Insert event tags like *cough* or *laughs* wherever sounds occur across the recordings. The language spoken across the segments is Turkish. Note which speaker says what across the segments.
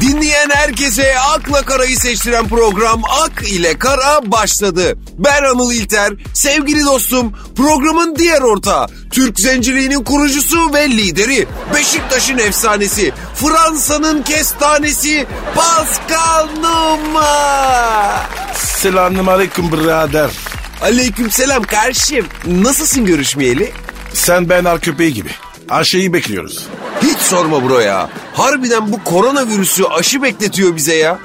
Speaker 1: dinleyen herkese akla karayı seçtiren program Ak ile Kara başladı. Ben Anıl İlter, sevgili dostum, programın diğer ortağı, Türk zenciliğinin kurucusu ve lideri, Beşiktaş'ın efsanesi, Fransa'nın kestanesi Pascal Numa.
Speaker 2: Selamun aleyküm birader.
Speaker 1: Aleykümselam karşım. Nasılsın görüşmeyeli?
Speaker 2: Sen ben ar köpeği gibi. Aşeyi bekliyoruz.
Speaker 1: Hiç sorma bro ya. Harbiden bu koronavirüsü aşı bekletiyor bize ya.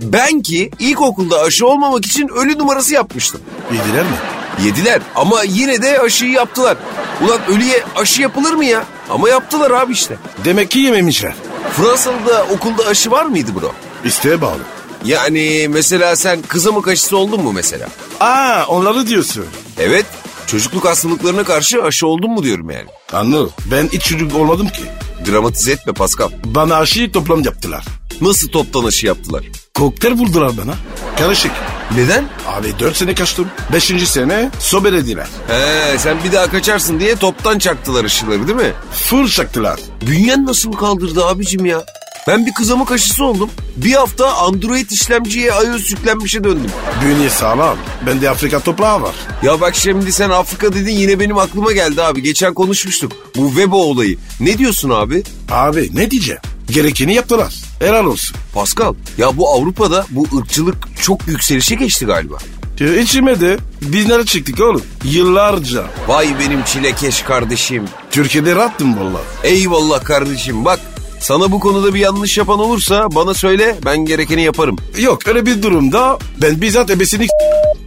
Speaker 1: Ben ki ilkokulda aşı olmamak için ölü numarası yapmıştım.
Speaker 2: Yediler mi?
Speaker 1: Yediler ama yine de aşıyı yaptılar. Ulan ölüye aşı yapılır mı ya? Ama yaptılar abi işte.
Speaker 2: Demek ki yememişler.
Speaker 1: Fransa'da okulda aşı var mıydı bro?
Speaker 2: İsteğe bağlı.
Speaker 1: Yani mesela sen kızamık aşısı oldun mu mesela?
Speaker 2: Aa onları diyorsun.
Speaker 1: Evet. Çocukluk hastalıklarına karşı aşı oldun mu diyorum yani.
Speaker 2: Anladım. Ben hiç çocuk olmadım ki.
Speaker 1: Dramatize etme Pascal.
Speaker 2: Bana aşıyı toplam yaptılar.
Speaker 1: Nasıl toptan aşı yaptılar?
Speaker 2: Kokteyl buldular bana. Karışık.
Speaker 1: Neden?
Speaker 2: Abi dört sene kaçtım. Beşinci sene sobelediler.
Speaker 1: He, sen bir daha kaçarsın diye toptan çaktılar aşıları değil mi?
Speaker 2: Full çaktılar.
Speaker 1: Bünyen nasıl kaldırdı abicim ya? Ben bir kızamık aşısı oldum. Bir hafta Android işlemciye iOS yüklenmişe döndüm.
Speaker 2: Bünye sağlam. Bende Afrika toprağı var.
Speaker 1: Ya bak şimdi sen Afrika dedin yine benim aklıma geldi abi. Geçen konuşmuştuk. Bu Vebo olayı. Ne diyorsun abi?
Speaker 2: Abi ne diyeceğim? Gerekeni yaptılar. Helal olsun.
Speaker 1: Pascal ya bu Avrupa'da bu ırkçılık çok yükselişe geçti galiba.
Speaker 2: Ya içime de binlere çıktık oğlum. Yıllarca.
Speaker 1: Vay benim çilekeş kardeşim.
Speaker 2: Türkiye'de rahattım valla.
Speaker 1: Eyvallah kardeşim bak. Sana bu konuda bir yanlış yapan olursa bana söyle ben gerekeni yaparım.
Speaker 2: Yok öyle bir durumda ben bizzat ebesini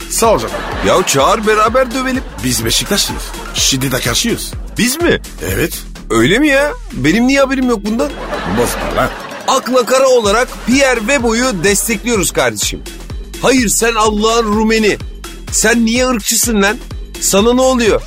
Speaker 2: sağ olacağım.
Speaker 1: Ya çağır beraber dövelim.
Speaker 2: Biz Beşiktaşlıyız. Şiddete karşıyız.
Speaker 1: Biz mi?
Speaker 2: Evet.
Speaker 1: Öyle mi ya? Benim niye haberim yok bundan?
Speaker 2: Bozma lan.
Speaker 1: Akla kara olarak Pierre Vebo'yu destekliyoruz kardeşim. Hayır sen Allah'ın Rumeni. Sen niye ırkçısın lan? Sana ne oluyor?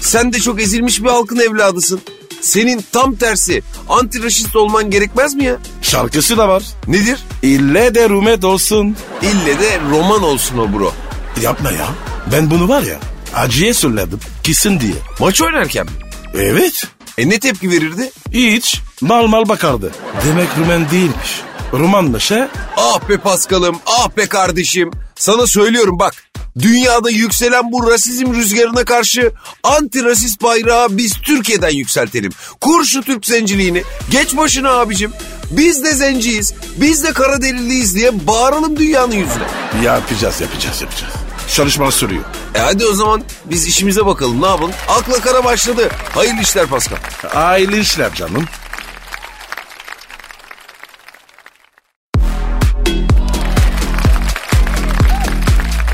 Speaker 1: Sen de çok ezilmiş bir halkın evladısın. Senin tam tersi antiraşist olman gerekmez mi ya?
Speaker 2: Şarkısı da var.
Speaker 1: Nedir?
Speaker 2: İlle de rumet olsun.
Speaker 1: İlle de roman olsun o bro.
Speaker 2: Yapma ya. Ben bunu var ya acıya söyledim. Kesin diye.
Speaker 1: Maç oynarken mi?
Speaker 2: Evet.
Speaker 1: E ne tepki verirdi?
Speaker 2: Hiç mal mal bakardı. Demek Rumen değilmiş. şey Rumanmış he?
Speaker 1: Ah be Paskal'ım, ah be kardeşim. Sana söylüyorum bak. Dünyada yükselen bu rasizm rüzgarına karşı antirasist bayrağı biz Türkiye'den yükseltelim. Kur şu Türk zenciliğini. Geç başına abicim. Biz de zenciyiz, biz de kara deliliyiz diye bağıralım dünyanın yüzüne.
Speaker 2: Yapacağız yapacağız yapacağız. Çalışma sürüyor.
Speaker 1: E hadi o zaman biz işimize bakalım ne yapalım. Akla kara başladı. Hayırlı işler Paskal.
Speaker 2: Aile işler canım.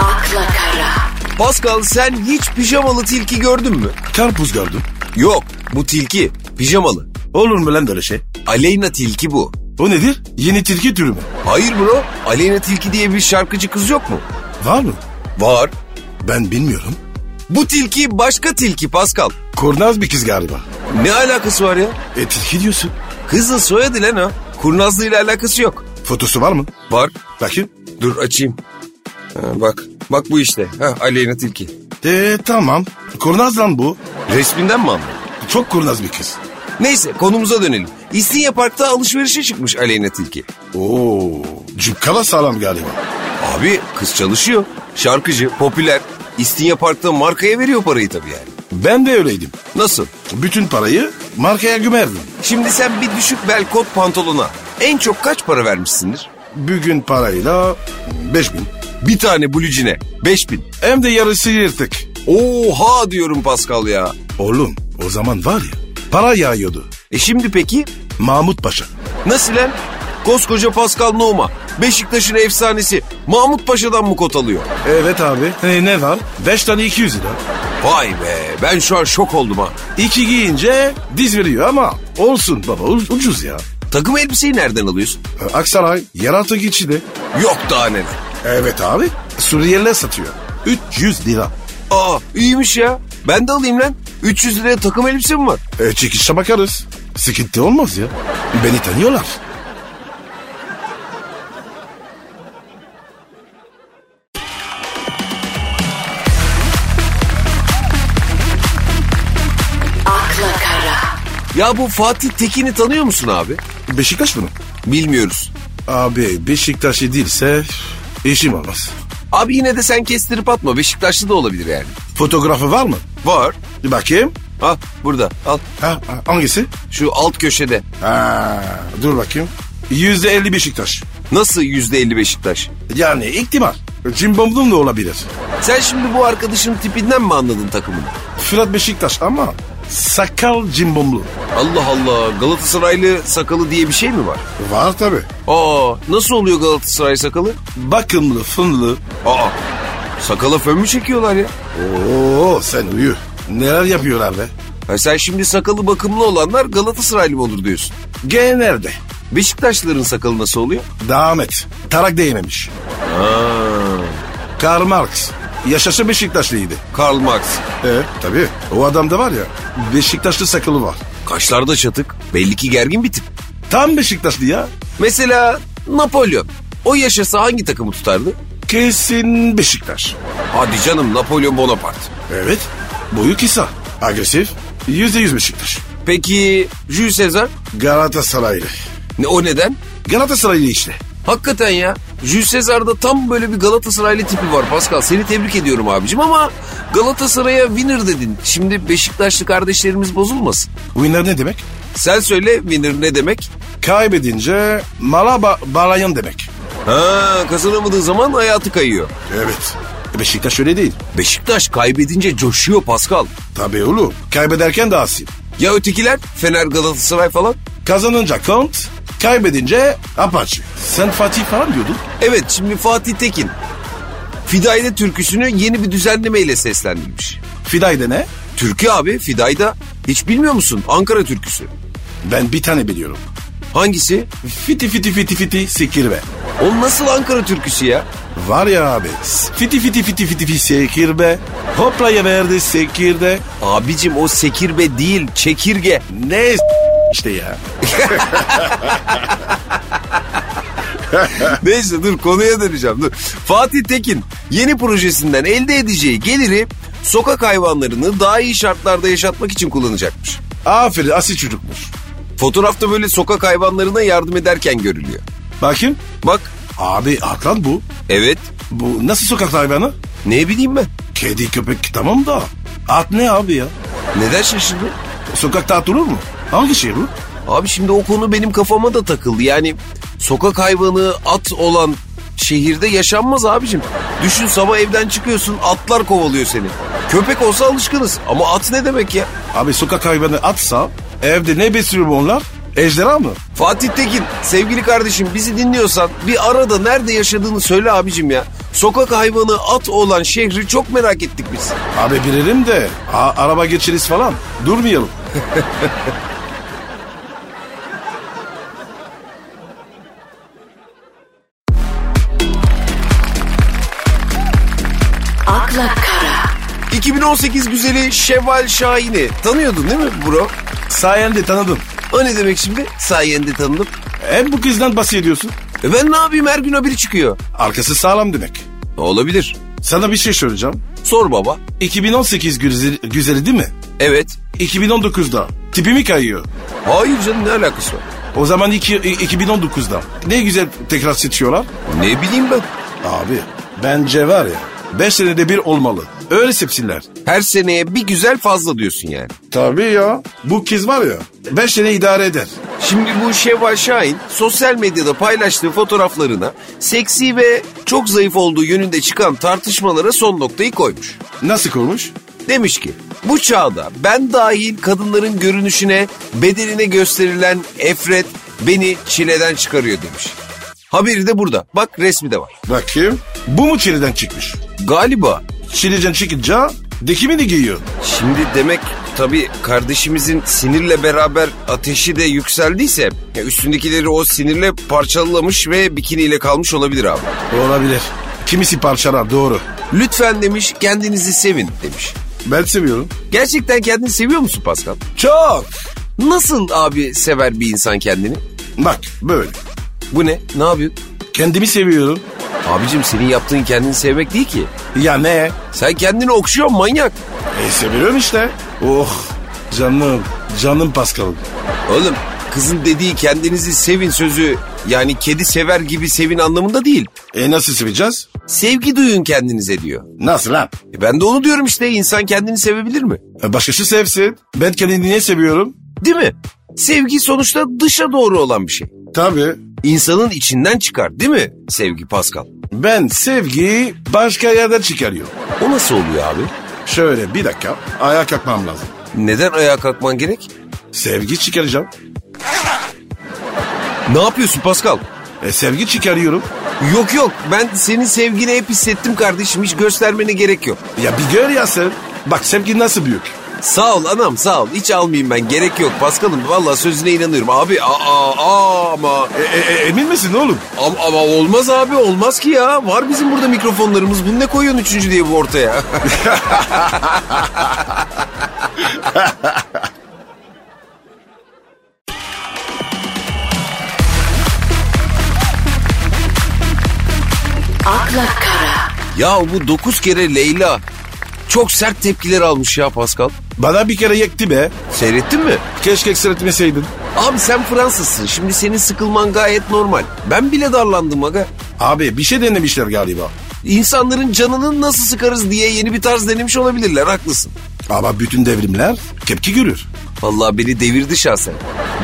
Speaker 3: akla kara,
Speaker 1: Paskal sen hiç pijamalı tilki gördün mü?
Speaker 2: Karpuz gördüm.
Speaker 1: Yok bu tilki pijamalı.
Speaker 2: Olur mu lan böyle şey?
Speaker 1: Aleyna tilki bu.
Speaker 2: O nedir? Yeni tilki türü mü?
Speaker 1: Hayır bro. Aleyna Tilki diye bir şarkıcı kız yok mu?
Speaker 2: Var mı?
Speaker 1: Var.
Speaker 2: Ben bilmiyorum.
Speaker 1: Bu tilki başka tilki Pascal.
Speaker 2: Kurnaz bir kız galiba.
Speaker 1: Ne alakası var ya?
Speaker 2: E tilki diyorsun.
Speaker 1: Kızın soyadı lan o. Kurnazlığıyla alakası yok.
Speaker 2: Fotosu var mı?
Speaker 1: Var.
Speaker 2: Bakayım.
Speaker 1: Dur açayım. Ha, bak. Bak bu işte. Ha, Aleyna Tilki.
Speaker 2: E tamam. Kurnaz lan bu.
Speaker 1: Resminden mi anladın?
Speaker 2: Çok kurnaz bir kız.
Speaker 1: Neyse konumuza dönelim. İstinye Park'ta alışverişe çıkmış Aleyna Tilki.
Speaker 2: Oo. Cükkala sağlam galiba.
Speaker 1: Abi kız çalışıyor. Şarkıcı, popüler. İstinye Park'ta markaya veriyor parayı tabii yani.
Speaker 2: Ben de öyleydim.
Speaker 1: Nasıl?
Speaker 2: Bütün parayı markaya gümerdim.
Speaker 1: Şimdi sen bir düşük bel kot pantolona en çok kaç para vermişsindir?
Speaker 2: Bugün parayla 5000.
Speaker 1: Bir tane blucine 5000.
Speaker 2: Hem de yarısı yırtık.
Speaker 1: Oha diyorum Pascal ya.
Speaker 2: Oğlum o zaman var ya para yağıyordu.
Speaker 1: E şimdi peki
Speaker 2: Mahmut Paşa.
Speaker 1: nasıl lan? Koskoca Pascal Nouma Beşiktaş'ın efsanesi Mahmut Paşa'dan mı kot alıyor?
Speaker 2: Evet abi. E, ne var? 5 tane 200 lira.
Speaker 1: Vay be ben şu an şok oldum ha.
Speaker 2: İki giyince diz veriyor ama olsun baba u- ucuz ya.
Speaker 1: Takım elbiseyi nereden alıyorsun?
Speaker 2: E, Aksaray yeraltı geçidi.
Speaker 1: Yok daha neler.
Speaker 2: Evet abi. Suriyeliler satıyor. 300 lira.
Speaker 1: Aa iyiymiş ya. Ben de alayım lan. 300 liraya takım elbise mi var?
Speaker 2: E, çekişe bakarız. Sıkıntı olmaz ya. Beni tanıyorlar.
Speaker 3: akla kara,
Speaker 1: Ya bu Fatih Tekin'i tanıyor musun abi?
Speaker 2: Beşiktaş bunu.
Speaker 1: Bilmiyoruz.
Speaker 2: Abi Beşiktaş'ı değilse eşim olmaz.
Speaker 1: Abi yine de sen kestirip atma. Beşiktaşlı da olabilir yani.
Speaker 2: Fotoğrafı var mı?
Speaker 1: Var.
Speaker 2: Bir bakayım.
Speaker 1: Ha burada al.
Speaker 2: Ha, ha, hangisi?
Speaker 1: Şu alt köşede.
Speaker 2: Ha, dur bakayım. Yüzde elli Beşiktaş.
Speaker 1: Nasıl yüzde elli Beşiktaş?
Speaker 2: Yani ihtimal. Cimbomdum da olabilir.
Speaker 1: Sen şimdi bu arkadaşın tipinden mi anladın takımını?
Speaker 2: Fırat Beşiktaş ama sakal cimbomlu.
Speaker 1: Allah Allah Galatasaraylı sakalı diye bir şey mi var?
Speaker 2: Var tabi.
Speaker 1: Aa nasıl oluyor Galatasaray sakalı?
Speaker 2: Bakımlı, fınlı.
Speaker 1: Aa sakala fön mü çekiyorlar ya?
Speaker 2: Oo sen uyu. Neler yapıyorlar be?
Speaker 1: Ha, sen şimdi sakalı bakımlı olanlar Galatasaraylı mı olur diyorsun.
Speaker 2: G nerede?
Speaker 1: Beşiktaşlıların sakalı nasıl oluyor?
Speaker 2: Devam et. Tarak değmemiş. Karl Marx. Yaşası Beşiktaşlıydı.
Speaker 1: Karl Marx.
Speaker 2: E tabi. O adamda var ya Beşiktaşlı sakalı var.
Speaker 1: Kaşlarda çatık. Belli ki gergin bir tip.
Speaker 2: Tam Beşiktaşlı ya.
Speaker 1: Mesela Napolyon. O yaşasa hangi takımı tutardı?
Speaker 2: Kesin Beşiktaş.
Speaker 1: Hadi canım Napolyon Bonaparte.
Speaker 2: Evet. Boyu kısa. Agresif. Yüzde yüz Beşiktaş.
Speaker 1: Peki Jules Caesar?
Speaker 2: Galatasaraylı.
Speaker 1: Ne, o neden?
Speaker 2: Galatasaraylı işte.
Speaker 1: Hakikaten ya. Jules Caesar'da tam böyle bir Galatasaraylı tipi var Pascal. Seni tebrik ediyorum abicim ama Galatasaray'a winner dedin. Şimdi Beşiktaşlı kardeşlerimiz bozulmasın.
Speaker 2: Winner ne demek?
Speaker 1: Sen söyle winner ne demek?
Speaker 2: Kaybedince mala ba- bağlayan demek.
Speaker 1: Ha kazanamadığı zaman hayatı kayıyor.
Speaker 2: Evet. Beşiktaş öyle değil.
Speaker 1: Beşiktaş kaybedince coşuyor Pascal.
Speaker 2: Tabii oğlum. Kaybederken daha asil.
Speaker 1: Ya ötekiler? Fener Galatasaray falan?
Speaker 2: Kazanınca Kont, kaybedince Apache. Sen Fatih falan diyordun.
Speaker 1: Evet şimdi Fatih Tekin. Fidayda türküsünü yeni bir düzenlemeyle seslendirmiş.
Speaker 2: Fidayde ne?
Speaker 1: Türkü abi Fidayda. Hiç bilmiyor musun? Ankara türküsü.
Speaker 2: Ben bir tane biliyorum.
Speaker 1: Hangisi?
Speaker 2: Fiti fiti fiti fiti sikirbe.
Speaker 1: O nasıl Ankara türküsü ya?
Speaker 2: Var ya abi. Fiti fiti fiti fiti fiti sekirbe. Hoplaya verdi sekirde.
Speaker 1: Abicim o sekirbe değil çekirge.
Speaker 2: Ne s- işte ya.
Speaker 1: Neyse dur konuya döneceğim dur. Fatih Tekin yeni projesinden elde edeceği geliri sokak hayvanlarını daha iyi şartlarda yaşatmak için kullanacakmış.
Speaker 2: Aferin asil çocukmuş.
Speaker 1: Fotoğrafta böyle sokak hayvanlarına yardım ederken görülüyor.
Speaker 2: Bakayım.
Speaker 1: Bak
Speaker 2: Abi aklan bu.
Speaker 1: evet
Speaker 2: Bu nasıl sokak hayvanı?
Speaker 1: ne bileyim ben.
Speaker 2: Kedi köpek tamam da. At ne abi ya?
Speaker 1: Neden şaşırdın?
Speaker 2: Sokakta at olur mu? Hangi şey bu?
Speaker 1: Abi şimdi o konu benim kafama da takıldı. Yani sokak hayvanı at olan şehirde yaşanmaz abicim. Düşün sabah evden çıkıyorsun atlar kovalıyor seni. Köpek olsa alışkınız ama at ne demek ya?
Speaker 2: Abi sokak hayvanı atsa evde ne besliyor bu onlar? Ejderha mı?
Speaker 1: Fatih Tekin sevgili kardeşim bizi dinliyorsan bir arada nerede yaşadığını söyle abicim ya. Sokak hayvanı at olan şehri çok merak ettik biz.
Speaker 2: Abi bilelim de a- araba geçeriz falan. Durmayalım.
Speaker 3: akla kara,
Speaker 1: 2018 güzeli Şevval Şahin'i tanıyordun değil mi bro?
Speaker 2: Sayende tanıdım.
Speaker 1: O ne demek şimdi? Sayende tanıdım.
Speaker 2: Hem bu kızdan bahsediyorsun.
Speaker 1: E ben ne yapayım her gün haberi çıkıyor.
Speaker 2: Arkası sağlam demek.
Speaker 1: Olabilir.
Speaker 2: Sana bir şey söyleyeceğim.
Speaker 1: Sor baba.
Speaker 2: 2018 güzeli, güzeli değil mi?
Speaker 1: Evet.
Speaker 2: 2019'da. Tipimi kayıyor.
Speaker 1: Hayır canım ne alakası var?
Speaker 2: O zaman iki, i- 2019'da. Ne güzel tekrar seçiyorlar.
Speaker 1: Ne bileyim ben.
Speaker 2: Abi bence var ya 5 senede bir olmalı. Öyle sepsinler.
Speaker 1: Her seneye bir güzel fazla diyorsun yani.
Speaker 2: Tabii ya. Bu kız var ya 5 sene idare eder.
Speaker 1: Şimdi bu Şevval Şahin sosyal medyada paylaştığı fotoğraflarına seksi ve çok zayıf olduğu yönünde çıkan tartışmalara son noktayı koymuş.
Speaker 2: Nasıl kurmuş?
Speaker 1: Demiş ki bu çağda ben dahil kadınların görünüşüne bedeline gösterilen efret beni çileden çıkarıyor demiş. Haberi de burada. Bak resmi de var.
Speaker 2: Bakayım. Bu mu Çin'den çıkmış?
Speaker 1: Galiba
Speaker 2: Çin'den çıkınca dikimini giyiyor.
Speaker 1: Şimdi demek tabii kardeşimizin sinirle beraber ateşi de yükseldiyse ya üstündekileri o sinirle parçalamış ve bikiniyle kalmış olabilir abi.
Speaker 2: Olabilir. Kimisi parçalar doğru.
Speaker 1: Lütfen demiş kendinizi sevin demiş.
Speaker 2: Ben seviyorum.
Speaker 1: Gerçekten kendini seviyor musun Pascal?
Speaker 2: Çok.
Speaker 1: Nasıl abi sever bir insan kendini?
Speaker 2: Bak böyle.
Speaker 1: Bu ne? Ne yapıyorsun?
Speaker 2: Kendimi seviyorum.
Speaker 1: Abicim senin yaptığın kendini sevmek değil ki.
Speaker 2: Ya ne?
Speaker 1: Sen kendini okşuyorsun manyak.
Speaker 2: E seviyorum işte. Oh canım. Canım Paskal'ım.
Speaker 1: Oğlum kızın dediği kendinizi sevin sözü Yani kedi sever gibi sevin anlamında değil.
Speaker 2: E nasıl seveceğiz?
Speaker 1: Sevgi duyun kendinize diyor.
Speaker 2: Nasıl lan?
Speaker 1: E ben de onu diyorum işte insan kendini sevebilir mi?
Speaker 2: E, başkası sevsin. Ben kendimi niye seviyorum?
Speaker 1: Değil mi? Sevgi sonuçta dışa doğru olan bir şey.
Speaker 2: Tabii.
Speaker 1: İnsanın içinden çıkar değil mi sevgi Pascal?
Speaker 2: Ben sevgiyi başka yerden çıkarıyorum.
Speaker 1: O nasıl oluyor abi?
Speaker 2: Şöyle bir dakika ayağa kalkmam lazım.
Speaker 1: Neden ayağa kalkman gerek?
Speaker 2: Sevgi çıkaracağım.
Speaker 1: Ne yapıyorsun Pascal?
Speaker 2: E sevgi çıkarıyorum.
Speaker 1: Yok yok ben senin sevgini hep hissettim kardeşim hiç göstermene gerek yok.
Speaker 2: Ya bir gör ya sen. Bak sevgi nasıl büyük.
Speaker 1: Sağ ol anam sağ ol hiç almayayım ben gerek yok Pascal'ım valla sözüne inanıyorum abi aa, aa ama,
Speaker 2: E, e, e, emin misin oğlum?
Speaker 1: ama ama olmaz abi olmaz ki ya var bizim burada mikrofonlarımız bunu ne koyuyorsun üçüncü diye bu ortaya.
Speaker 3: akla kara,
Speaker 1: ya bu dokuz kere Leyla çok sert tepkiler almış ya Pascal
Speaker 2: Bana bir kere yekti be.
Speaker 1: seyrettin mi?
Speaker 2: Keşke seyretmeseydin.
Speaker 1: Abi sen Fransızsın şimdi senin sıkılman gayet normal ben bile darlandım aga.
Speaker 2: Abi bir şey denemişler galiba.
Speaker 1: İnsanların canını nasıl sıkarız diye yeni bir tarz denemiş olabilirler haklısın.
Speaker 2: Ama bütün devrimler tepki görür.
Speaker 1: Vallahi beni devirdi şahsen.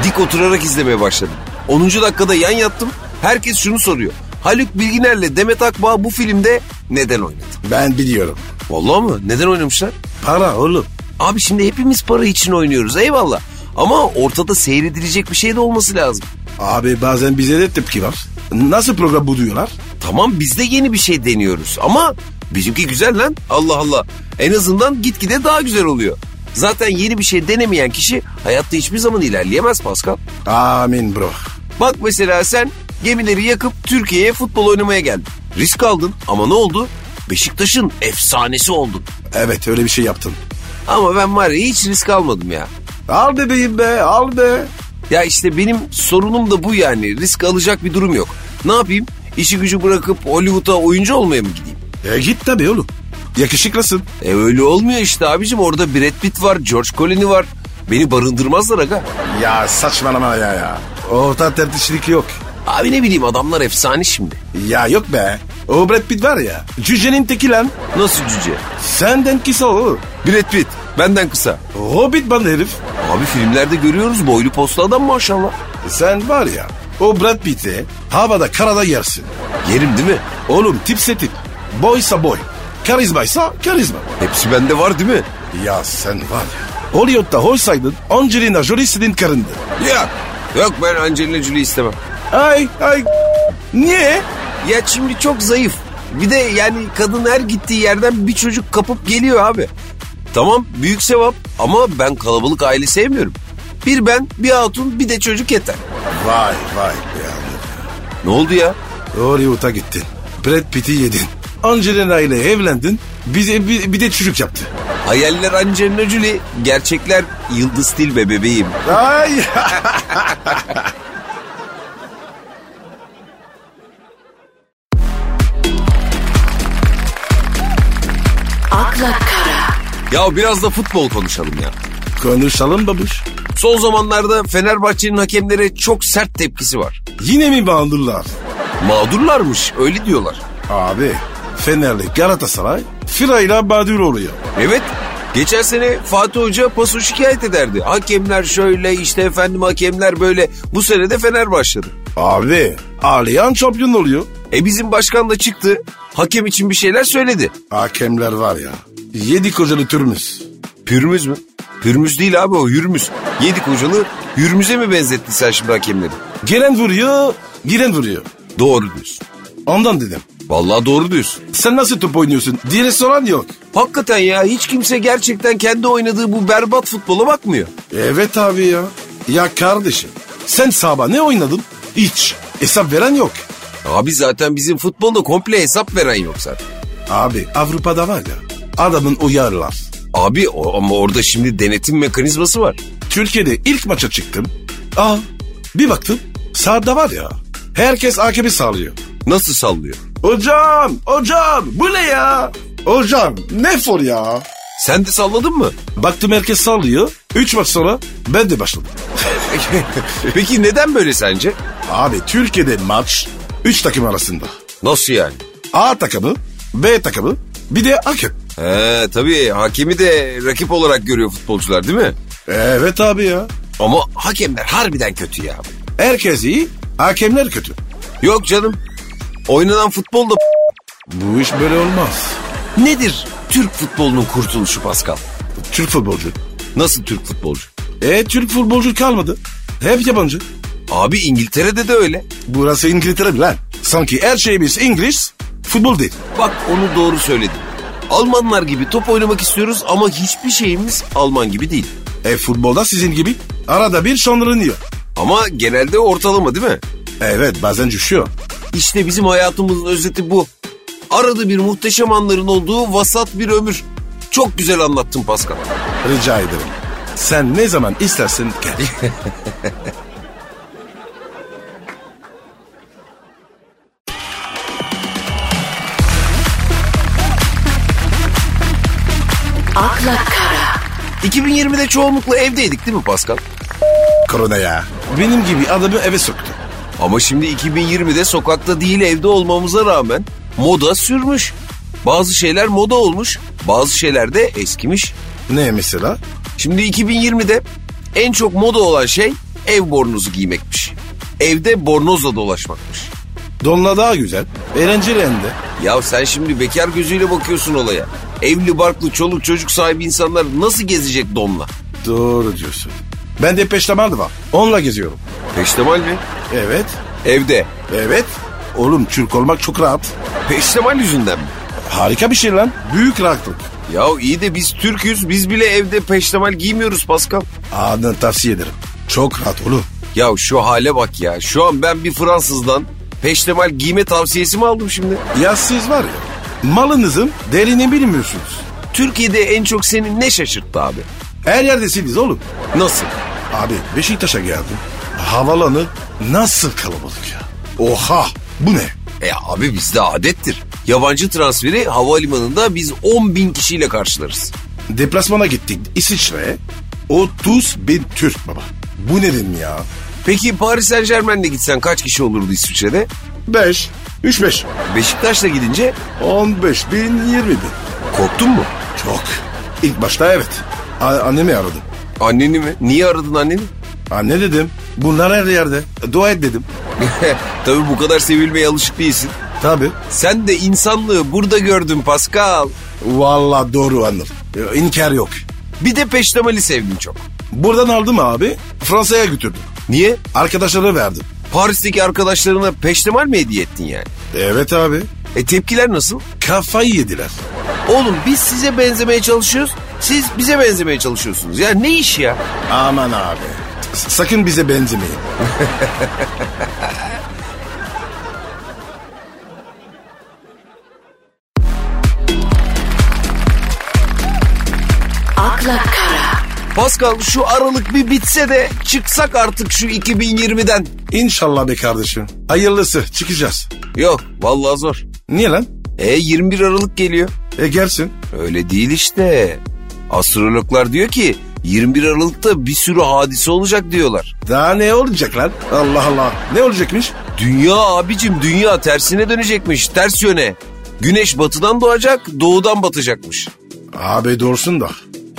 Speaker 1: Dik oturarak izlemeye başladım. 10. dakikada yan yattım. Herkes şunu soruyor. Haluk Bilginer'le Demet Akbağ bu filmde neden oynadı?
Speaker 2: Ben biliyorum.
Speaker 1: Vallahi mı? Neden oynamışlar?
Speaker 2: Para oğlum.
Speaker 1: Abi şimdi hepimiz para için oynuyoruz eyvallah. Ama ortada seyredilecek bir şey de olması lazım.
Speaker 2: Abi bazen bize de tepki var. Nasıl program bu diyorlar?
Speaker 1: Tamam biz de yeni bir şey deniyoruz ama bizimki güzel lan. Allah Allah. En azından gitgide daha güzel oluyor. Zaten yeni bir şey denemeyen kişi hayatta hiçbir zaman ilerleyemez Pascal.
Speaker 2: Amin bro.
Speaker 1: Bak mesela sen gemileri yakıp Türkiye'ye futbol oynamaya geldin. Risk aldın ama ne oldu? Beşiktaş'ın efsanesi oldun.
Speaker 2: Evet öyle bir şey yaptın.
Speaker 1: Ama ben var ya hiç risk almadım ya.
Speaker 2: Al bebeğim be al be.
Speaker 1: Ya işte benim sorunum da bu yani. Risk alacak bir durum yok. Ne yapayım? İşi gücü bırakıp Hollywood'a oyuncu olmaya mı gideyim?
Speaker 2: E git tabii oğlum. Yakışıklısın.
Speaker 1: E öyle olmuyor işte abicim. Orada Brad Pitt var, George Clooney var. Beni barındırmazlar aga.
Speaker 2: Ya saçmalama ya ya. Orta tertişlik yok.
Speaker 1: Abi ne bileyim adamlar efsane şimdi.
Speaker 2: Ya yok be. O Brad Pitt var ya. Cücenin teki lan.
Speaker 1: Nasıl cüce?
Speaker 2: Senden kısa o.
Speaker 1: Brad Pitt benden kısa.
Speaker 2: Hobbit bandı herif.
Speaker 1: Abi filmlerde görüyoruz boylu postlu adam maşallah.
Speaker 2: Sen var ya. O Brad Pitt'i havada karada yersin.
Speaker 1: Yerim değil mi?
Speaker 2: Oğlum tipse tip. Boysa boy. Karizmaysa karizma.
Speaker 1: Hepsi bende var değil mi?
Speaker 2: Ya sen var ya. Hollywood'da hoysaydın Angelina Jolie'sinin karındı.
Speaker 1: Yok. Yok ben Angelina Jolie istemem.
Speaker 2: Ay ay. Niye?
Speaker 1: Ya şimdi çok zayıf. Bir de yani kadın her gittiği yerden bir çocuk kapıp geliyor abi. Tamam büyük sevap ama ben kalabalık aile sevmiyorum. Bir ben, bir hatun, bir de çocuk yeter.
Speaker 2: Vay vay be abi.
Speaker 1: Ne oldu ya?
Speaker 2: Hollywood'a gittin. Brad Pitt'i yedin. Angelina ile evlendin. Bize bir, bir de çocuk yaptı.
Speaker 1: Hayaller Angelina Jolie, gerçekler Yıldız Tilbe bebeğim.
Speaker 2: Ay. *laughs*
Speaker 3: akla kara,
Speaker 1: Ya biraz da futbol konuşalım ya.
Speaker 2: Konuşalım babuş.
Speaker 1: Son zamanlarda Fenerbahçe'nin hakemlere çok sert tepkisi var.
Speaker 2: Yine mi bağımlılar?
Speaker 1: Mağdurlarmış öyle diyorlar.
Speaker 2: Abi Fenerli Galatasaray Firayla Badur oluyor.
Speaker 1: Evet. Geçen sene Fatih Hoca paso şikayet ederdi. Hakemler şöyle işte efendim hakemler böyle. Bu sene de Fener başladı.
Speaker 2: Abi ağlayan şampiyon oluyor.
Speaker 1: E bizim başkan da çıktı. Hakem için bir şeyler söyledi.
Speaker 2: Hakemler var ya. Yedi kocalı türümüz.
Speaker 1: Pürmüz mü? Pürmüz değil abi o yürmüz. Yedi kocalı yürmüze mi benzettin sen şimdi hakemleri?
Speaker 2: Gelen vuruyor, giren vuruyor.
Speaker 1: Doğru diyorsun.
Speaker 2: Ondan dedim.
Speaker 1: Vallahi doğru diyorsun.
Speaker 2: Sen nasıl top oynuyorsun? Diğeri soran yok.
Speaker 1: Hakikaten ya hiç kimse gerçekten kendi oynadığı bu berbat futbola bakmıyor.
Speaker 2: Evet abi ya. Ya kardeşim sen sabah ne oynadın? Hiç. Hesap veren yok.
Speaker 1: Abi zaten bizim futbolda komple hesap veren yok zaten.
Speaker 2: Abi Avrupa'da var ya adamın uyarılar.
Speaker 1: Abi o- ama orada şimdi denetim mekanizması var.
Speaker 2: Türkiye'de ilk maça çıktım. Aa bir baktım sahada var ya herkes AKP sağlıyor.
Speaker 1: Nasıl sallıyor?
Speaker 2: Hocam hocam bu ne ya? Hocam ne for ya?
Speaker 1: Sen de salladın mı? *laughs*
Speaker 2: Baktım herkes sallıyor. Üç maç sonra ben de başladım.
Speaker 1: Peki neden böyle sence?
Speaker 2: Abi Türkiye'de maç üç takım arasında.
Speaker 1: Nasıl yani?
Speaker 2: A takımı, B takımı, bir de hakem.
Speaker 1: He tabii hakemi de rakip olarak görüyor futbolcular değil mi?
Speaker 2: Evet abi ya.
Speaker 1: Ama hakemler harbiden kötü ya.
Speaker 2: Herkes iyi, hakemler kötü.
Speaker 1: Yok canım. Oynanan futbol da
Speaker 2: Bu iş böyle olmaz.
Speaker 1: nedir? Türk futbolunun kurtuluşu Pascal.
Speaker 2: Türk futbolcu.
Speaker 1: Nasıl Türk futbolcu?
Speaker 2: E Türk futbolcu kalmadı. Hep yabancı.
Speaker 1: Abi İngiltere'de de öyle.
Speaker 2: Burası İngiltere mi lan? Sanki her şeyimiz İngiliz, futbol değil.
Speaker 1: Bak onu doğru söyledin. Almanlar gibi top oynamak istiyoruz ama hiçbir şeyimiz Alman gibi değil.
Speaker 2: E futbolda sizin gibi arada bir şanlanıyor.
Speaker 1: Ama genelde ortalama değil mi?
Speaker 2: Evet bazen düşüyor.
Speaker 1: İşte bizim hayatımızın özeti bu. Arada bir muhteşem anların olduğu vasat bir ömür. Çok güzel anlattın Pascal.
Speaker 2: Rica ederim. Sen ne zaman istersen gel. *laughs*
Speaker 3: akla kara,
Speaker 1: 2020'de çoğunlukla evdeydik değil mi Pascal?
Speaker 2: Korona ya. Benim gibi adamı eve soktu.
Speaker 1: Ama şimdi 2020'de sokakta değil evde olmamıza rağmen moda sürmüş. Bazı şeyler moda olmuş, bazı şeyler de eskimiş.
Speaker 2: Ne mesela?
Speaker 1: Şimdi 2020'de en çok moda olan şey ev bornozu giymekmiş. Evde bornozla dolaşmakmış.
Speaker 2: Donla daha güzel. Eğlenceli hem de.
Speaker 1: Ya sen şimdi bekar gözüyle bakıyorsun olaya. Evli barklı çoluk çocuk sahibi insanlar nasıl gezecek donla?
Speaker 2: Doğru diyorsun. Ben de peştemal var. Onunla geziyorum.
Speaker 1: Peştemal mi?
Speaker 2: Evet.
Speaker 1: Evde.
Speaker 2: Evet. Oğlum Türk olmak çok rahat.
Speaker 1: Peştemal yüzünden mi?
Speaker 2: Harika bir şey lan. Büyük rahatlık.
Speaker 1: Ya iyi de biz Türk'üz biz bile evde peştemal giymiyoruz Pascal.
Speaker 2: Adını tavsiye ederim. Çok rahat oğlum.
Speaker 1: Ya şu hale bak ya şu an ben bir Fransızdan peştemal giyme tavsiyesi mi aldım şimdi?
Speaker 2: Ya siz var ya malınızın değerini bilmiyorsunuz.
Speaker 1: Türkiye'de en çok seni ne şaşırttı abi?
Speaker 2: Her yerdesiniz oğlum.
Speaker 1: Nasıl?
Speaker 2: Abi Beşiktaş'a geldim. Havalanı nasıl kalabalık ya? Oha bu ne?
Speaker 1: E abi bizde adettir. Yabancı transferi havalimanında biz 10 bin kişiyle karşılarız.
Speaker 2: Deplasmana gittik İsviçre'ye. 30 bin Türk baba. Bu ne dedim ya?
Speaker 1: Peki Paris Saint Germain'le gitsen kaç kişi olurdu İsviçre'de?
Speaker 2: 5, 3 5,
Speaker 1: Beşiktaş'la gidince
Speaker 2: 15 bin, 20 bin.
Speaker 1: korktun mu?
Speaker 2: Çok. İlk başta evet. A- annemi aradım.
Speaker 1: Anneni mi? Niye aradın anneni? *laughs*
Speaker 2: Anne dedim. Bunlar her yerde. Dua et dedim.
Speaker 1: Tabii bu kadar sevilmeye alışık değilsin.
Speaker 2: Tabii.
Speaker 1: Sen de insanlığı burada gördün Pascal.
Speaker 2: Vallahi doğru anladım. İnkar yok.
Speaker 1: Bir de peştemali sevdim çok.
Speaker 2: Buradan aldım abi. Fransa'ya götürdüm.
Speaker 1: Niye?
Speaker 2: Arkadaşlara verdim.
Speaker 1: Paris'teki arkadaşlarına peştemal mi hediye ettin yani?
Speaker 2: Evet abi.
Speaker 1: E tepkiler nasıl?
Speaker 2: Kafayı yediler.
Speaker 1: Oğlum biz size benzemeye çalışıyoruz. Siz bize benzemeye çalışıyorsunuz. Ya ne iş ya?
Speaker 2: Aman abi. S- Sakın bize benzemeyin.
Speaker 3: akla kara,
Speaker 1: Pascal şu aralık bir bitse de çıksak artık şu 2020'den.
Speaker 2: İnşallah be kardeşim. Hayırlısı çıkacağız.
Speaker 1: Yok vallahi zor.
Speaker 2: Niye lan?
Speaker 1: E 21 Aralık geliyor.
Speaker 2: E gelsin.
Speaker 1: Öyle değil işte. Astrologlar diyor ki 21 Aralık'ta bir sürü hadise olacak diyorlar.
Speaker 2: Daha ne olacak lan? Allah Allah. Ne olacakmış?
Speaker 1: Dünya abicim dünya tersine dönecekmiş ters yöne. Güneş batıdan doğacak doğudan batacakmış.
Speaker 2: Abi doğrusun da.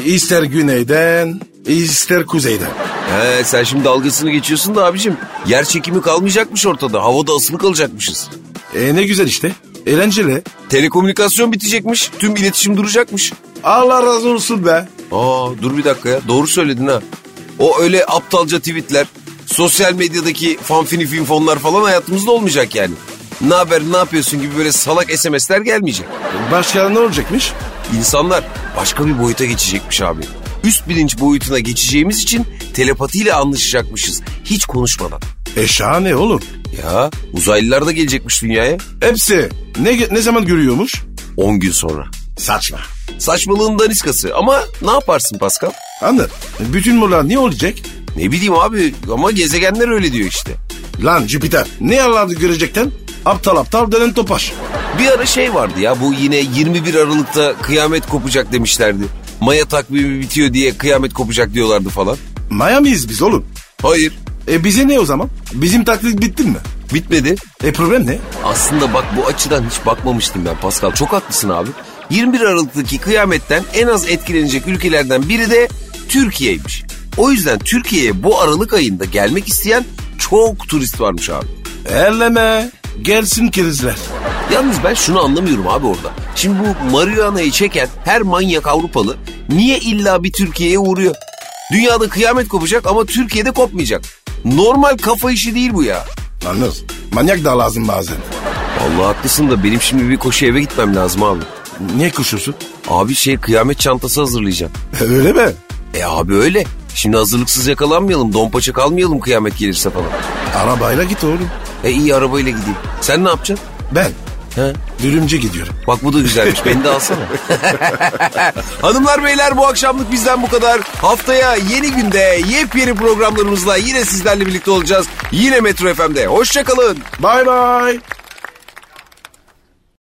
Speaker 2: İster güneyden, ister kuzeyden.
Speaker 1: He, sen şimdi dalgasını geçiyorsun da abicim yer çekimi kalmayacakmış ortada havada asılı kalacakmışız.
Speaker 2: E ne güzel işte. Eğlenceli.
Speaker 1: Telekomünikasyon bitecekmiş tüm iletişim duracakmış.
Speaker 2: Allah razı olsun be.
Speaker 1: Aa dur bir dakika ya doğru söyledin ha. O öyle aptalca tweetler, sosyal medyadaki fanfini finfonlar falan hayatımızda olmayacak yani. Ne haber ne yapıyorsun gibi böyle salak SMS'ler gelmeyecek.
Speaker 2: Başka ne olacakmış?
Speaker 1: İnsanlar başka bir boyuta geçecekmiş abi. Üst bilinç boyutuna geçeceğimiz için telepatiyle anlaşacakmışız hiç konuşmadan.
Speaker 2: E şahane oğlum.
Speaker 1: Ya uzaylılar da gelecekmiş dünyaya
Speaker 2: Hepsi. Ne, ne zaman görüyormuş?
Speaker 1: 10 gün sonra.
Speaker 2: Saçma.
Speaker 1: Saçmalığın daniskası ama ne yaparsın Pascal?
Speaker 2: Anladın. Bütün bunlar ne olacak?
Speaker 1: Ne bileyim abi ama gezegenler öyle diyor işte.
Speaker 2: Lan Jüpiter. Ne anladı görecekten? Aptal aptal dönen topaş.
Speaker 1: Bir ara şey vardı ya bu yine 21 Aralık'ta kıyamet kopacak demişlerdi. Maya takvimi bitiyor diye kıyamet kopacak diyorlardı falan.
Speaker 2: Miami'yiz biz oğlum.
Speaker 1: Hayır
Speaker 2: E bize ne o zaman? Bizim taklit bitti mi?
Speaker 1: bitmedi.
Speaker 2: E problem ne?
Speaker 1: Aslında bak bu açıdan hiç bakmamıştım ben Pascal. Çok haklısın abi. 21 Aralık'taki kıyametten en az etkilenecek ülkelerden biri de Türkiye'ymiş. O yüzden Türkiye'ye bu Aralık ayında gelmek isteyen çok turist varmış abi.
Speaker 2: Elleme. Gelsin kerizler.
Speaker 1: Yalnız ben şunu anlamıyorum abi orada. Şimdi bu marihuanayı çeken her manyak Avrupalı niye illa bir Türkiye'ye uğruyor? Dünyada kıyamet kopacak ama Türkiye'de kopmayacak. Normal kafa işi değil bu ya.
Speaker 2: Anlıyoruz. Manyak da lazım bazen.
Speaker 1: Vallahi haklısın da benim şimdi bir koşu eve gitmem lazım abi.
Speaker 2: Niye koşuyorsun? *laughs*
Speaker 1: Abi şey kıyamet çantası hazırlayacağım.
Speaker 2: Öyle mi?
Speaker 1: E abi öyle. Şimdi hazırlıksız yakalanmayalım, dompaça kalmayalım kıyamet gelirse falan.
Speaker 2: Arabayla git oğlum.
Speaker 1: E iyi arabayla gideyim. Sen ne yapacaksın?
Speaker 2: Ben
Speaker 1: He?
Speaker 2: dürümce gidiyorum.
Speaker 1: Bak bu da güzelmiş. Beni de alsana. Hanımlar beyler bu akşamlık bizden bu kadar. Haftaya yeni günde yepyeni programlarımızla yine sizlerle birlikte olacağız. Yine Metro FM'de. Hoşçakalın.
Speaker 2: Bye bye.